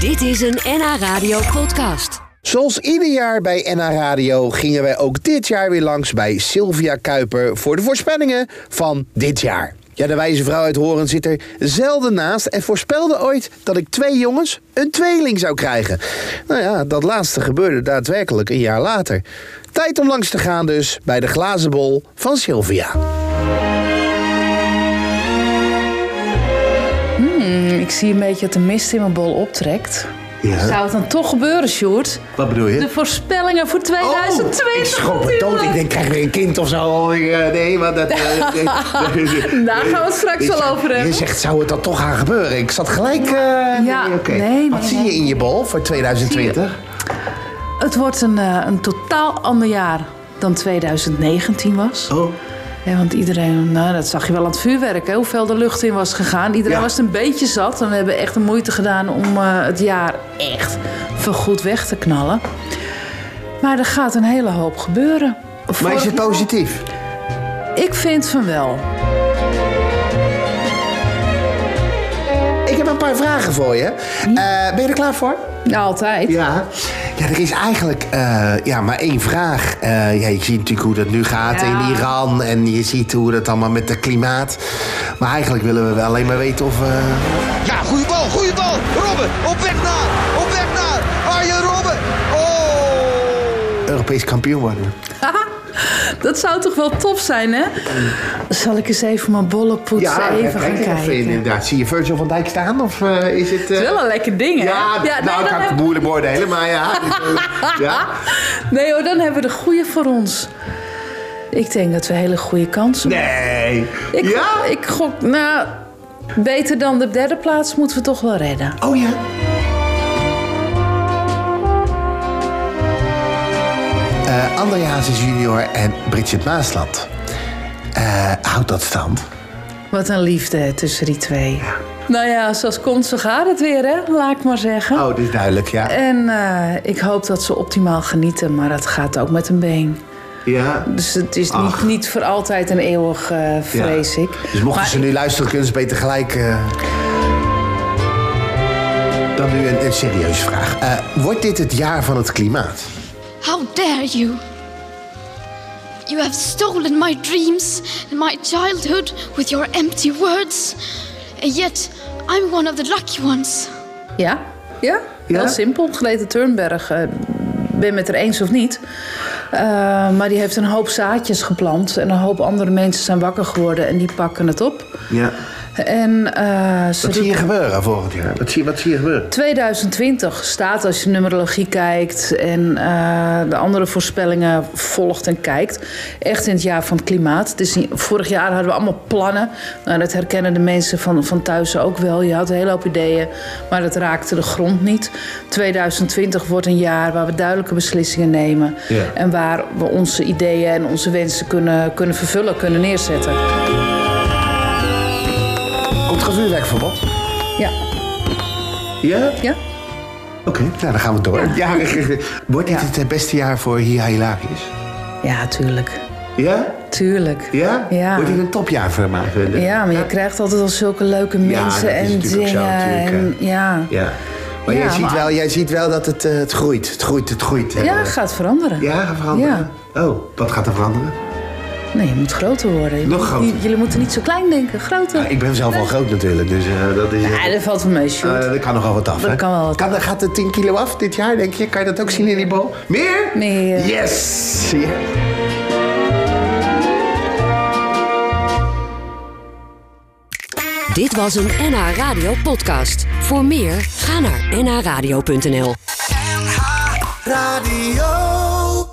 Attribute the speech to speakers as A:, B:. A: Dit is een NH Radio podcast.
B: Zoals ieder jaar bij NH Radio gingen wij ook dit jaar weer langs bij Sylvia Kuiper voor de voorspellingen van dit jaar. Ja, de wijze vrouw uit Horen zit er zelden naast en voorspelde ooit dat ik twee jongens een tweeling zou krijgen. Nou ja, dat laatste gebeurde daadwerkelijk een jaar later. Tijd om langs te gaan dus bij de glazen bol van Sylvia.
C: Ik zie een beetje dat de mist in mijn bol optrekt.
B: Ja.
C: Zou het dan toch gebeuren, Sjoerd?
B: Wat bedoel je? Oh,
C: De voorspellingen voor 2020.
B: ik schrok me dood. Ik denk, krijg weer een kind of zo. Ik, eh, Nee, maar dat... eh, nee.
C: Daar gaan we het straks wel over
B: Je
C: hebben.
B: zegt, zou het dan toch gaan gebeuren? Ik zat gelijk... eh,
C: Ja,
B: nee, oké.
C: nee,
B: Wat
C: nee,
B: zie
C: nee.
B: je in je bol voor 2020?
C: Het wordt een, eh, een totaal ander jaar dan 2019 was.
B: Oh.
C: Ja, want iedereen, nou, dat zag je wel aan het vuurwerk, hè, hoeveel de lucht in was gegaan. Iedereen
B: Ja.
C: was het een beetje zat en we hebben echt de moeite gedaan om eh, het jaar echt voorgoed weg te knallen. Maar er gaat een hele hoop gebeuren.
B: Maar is
C: Vorig-
B: het positief?
C: Ik vind van wel.
B: Ik heb een paar vragen voor je. Eh, ben je er klaar voor?
C: Altijd.
B: Ja. Ja, er is eigenlijk eh, ja, maar één vraag. Eh, ja, je ziet natuurlijk hoe dat nu gaat
C: Ja.
B: in Iran. En je ziet hoe dat allemaal met het klimaat. Maar eigenlijk willen we wel alleen maar weten of... eh,
D: Ja, goede bal, goede bal. Robben, op weg naar, op weg naar Arjen Robben. Oh!
B: Europees kampioen worden.
C: Dat zou toch wel tof zijn, hè? Zal ik eens even mijn bollen poetsen, even gaan
B: kijk
C: kijken.
B: inderdaad. Zie je Virgil van Dijk staan? Of eh, is het... eh,
C: Het is wel een lekker ding, hè?
B: Ja,
C: nee,
B: nou
C: dan
B: kan ik
C: heb-
B: het moeilijk beoordelen, maar ja. ja.
C: nee hoor, dan hebben we de goede voor ons. Ik denk dat we hele goede kansen
B: Nee.
C: Ik,
B: ja?
C: ik gok, nou, beter dan de derde plaats moeten we toch wel redden.
B: Oh ja. Eh André Hazes junior en Bridget Maasland. Eh, houdt dat stand?
C: Wat een liefde tussen die twee. Nou ja, zoals komt, zo gaat het weer, hè? Laat ik maar zeggen.
B: Oh, dat is duidelijk, ja.
C: En eh, ik hoop dat ze optimaal genieten, maar dat gaat ook met een been.
B: ja.
C: Dus het is niet,
B: Ach.
C: niet voor altijd en eeuwig, eh, vrees ik.
B: Dus mochten
C: Maar
B: ze nu luisteren, kunnen ze beter gelijk... eh. Dan nu een, een serieuze vraag. Eh, wordt dit het jaar van het klimaat?
E: How dare you! You have stolen my dreams and my childhood with your empty words. And yet, I'm one of the lucky ones.
C: Ja, ja,
B: Ja?
C: heel simpel. Greta Thunberg, eh, ben met haar eens of niet. Eh, maar die heeft een hoop zaadjes geplant. En een hoop andere mensen zijn wakker geworden en die pakken het op.
B: Ja.
C: En eh, ze
B: Wat zie je gebeuren volgend jaar? Wat zie, wat zie je gebeuren?
C: 2020 staat als je numerologie kijkt en eh, de andere voorspellingen volgt en kijkt. Echt in het jaar van het klimaat. Het is niet- vorig jaar hadden we allemaal plannen. Nou, dat herkennen de mensen van, van thuis ook wel. Je had een hele hoop ideeën, maar dat raakte de grond niet. 2020 wordt een jaar waar we duidelijke beslissingen nemen.
B: Ja.
C: En waar we onze ideeën en onze wensen kunnen, kunnen vervullen, kunnen neerzetten.
B: Komt er vuurwerkverbod?
C: Ja,
B: Ja?
C: ja.
B: Oké, nou dan gaan we door. Ja. Wordt dit het eh, beste jaar voor Hia Hilarius?
C: ja tuurlijk.
B: Ja?
C: Tuurlijk.
B: Ja?
C: Ja.
B: Wordt dit een topjaar voor mij?
C: Ja, maar je krijgt altijd al zulke leuke mensen
B: dat is
C: en
B: natuurlijk
C: dingen.
B: ook zo, natuurlijk,
C: en, ja. Ja.
B: Ja. Maar,
C: Ja,
B: jij, ziet
C: maar-
B: Wel, jij ziet wel dat het, eh, het groeit. Het groeit, het groeit. hè?
C: gaat veranderen.
B: Ja, gaat veranderen? Oh, wat gaat er veranderen?
C: Nee, je moet groter worden. Je
B: Nog
C: moet-
B: groter.
C: je- Jullie moeten niet zo klein denken, groter.
B: Nou, ik ben zelf al groot natuurlijk, dus eh, dat is...
C: Ja, dat valt wel mee,
B: eh,
C: Sjoerd.
B: dat kan nogal wat af,
C: Dat
B: hè?
C: kan wel wat
B: kan, Gaat de 10 kilo af dit jaar, denk je? Kan je dat ook zien in die bal? Meer?
C: Meer.
B: Yes! Ja.
A: Dit was een NH Radio podcast. Voor meer, ga naar nhradio.nl.
F: Radio.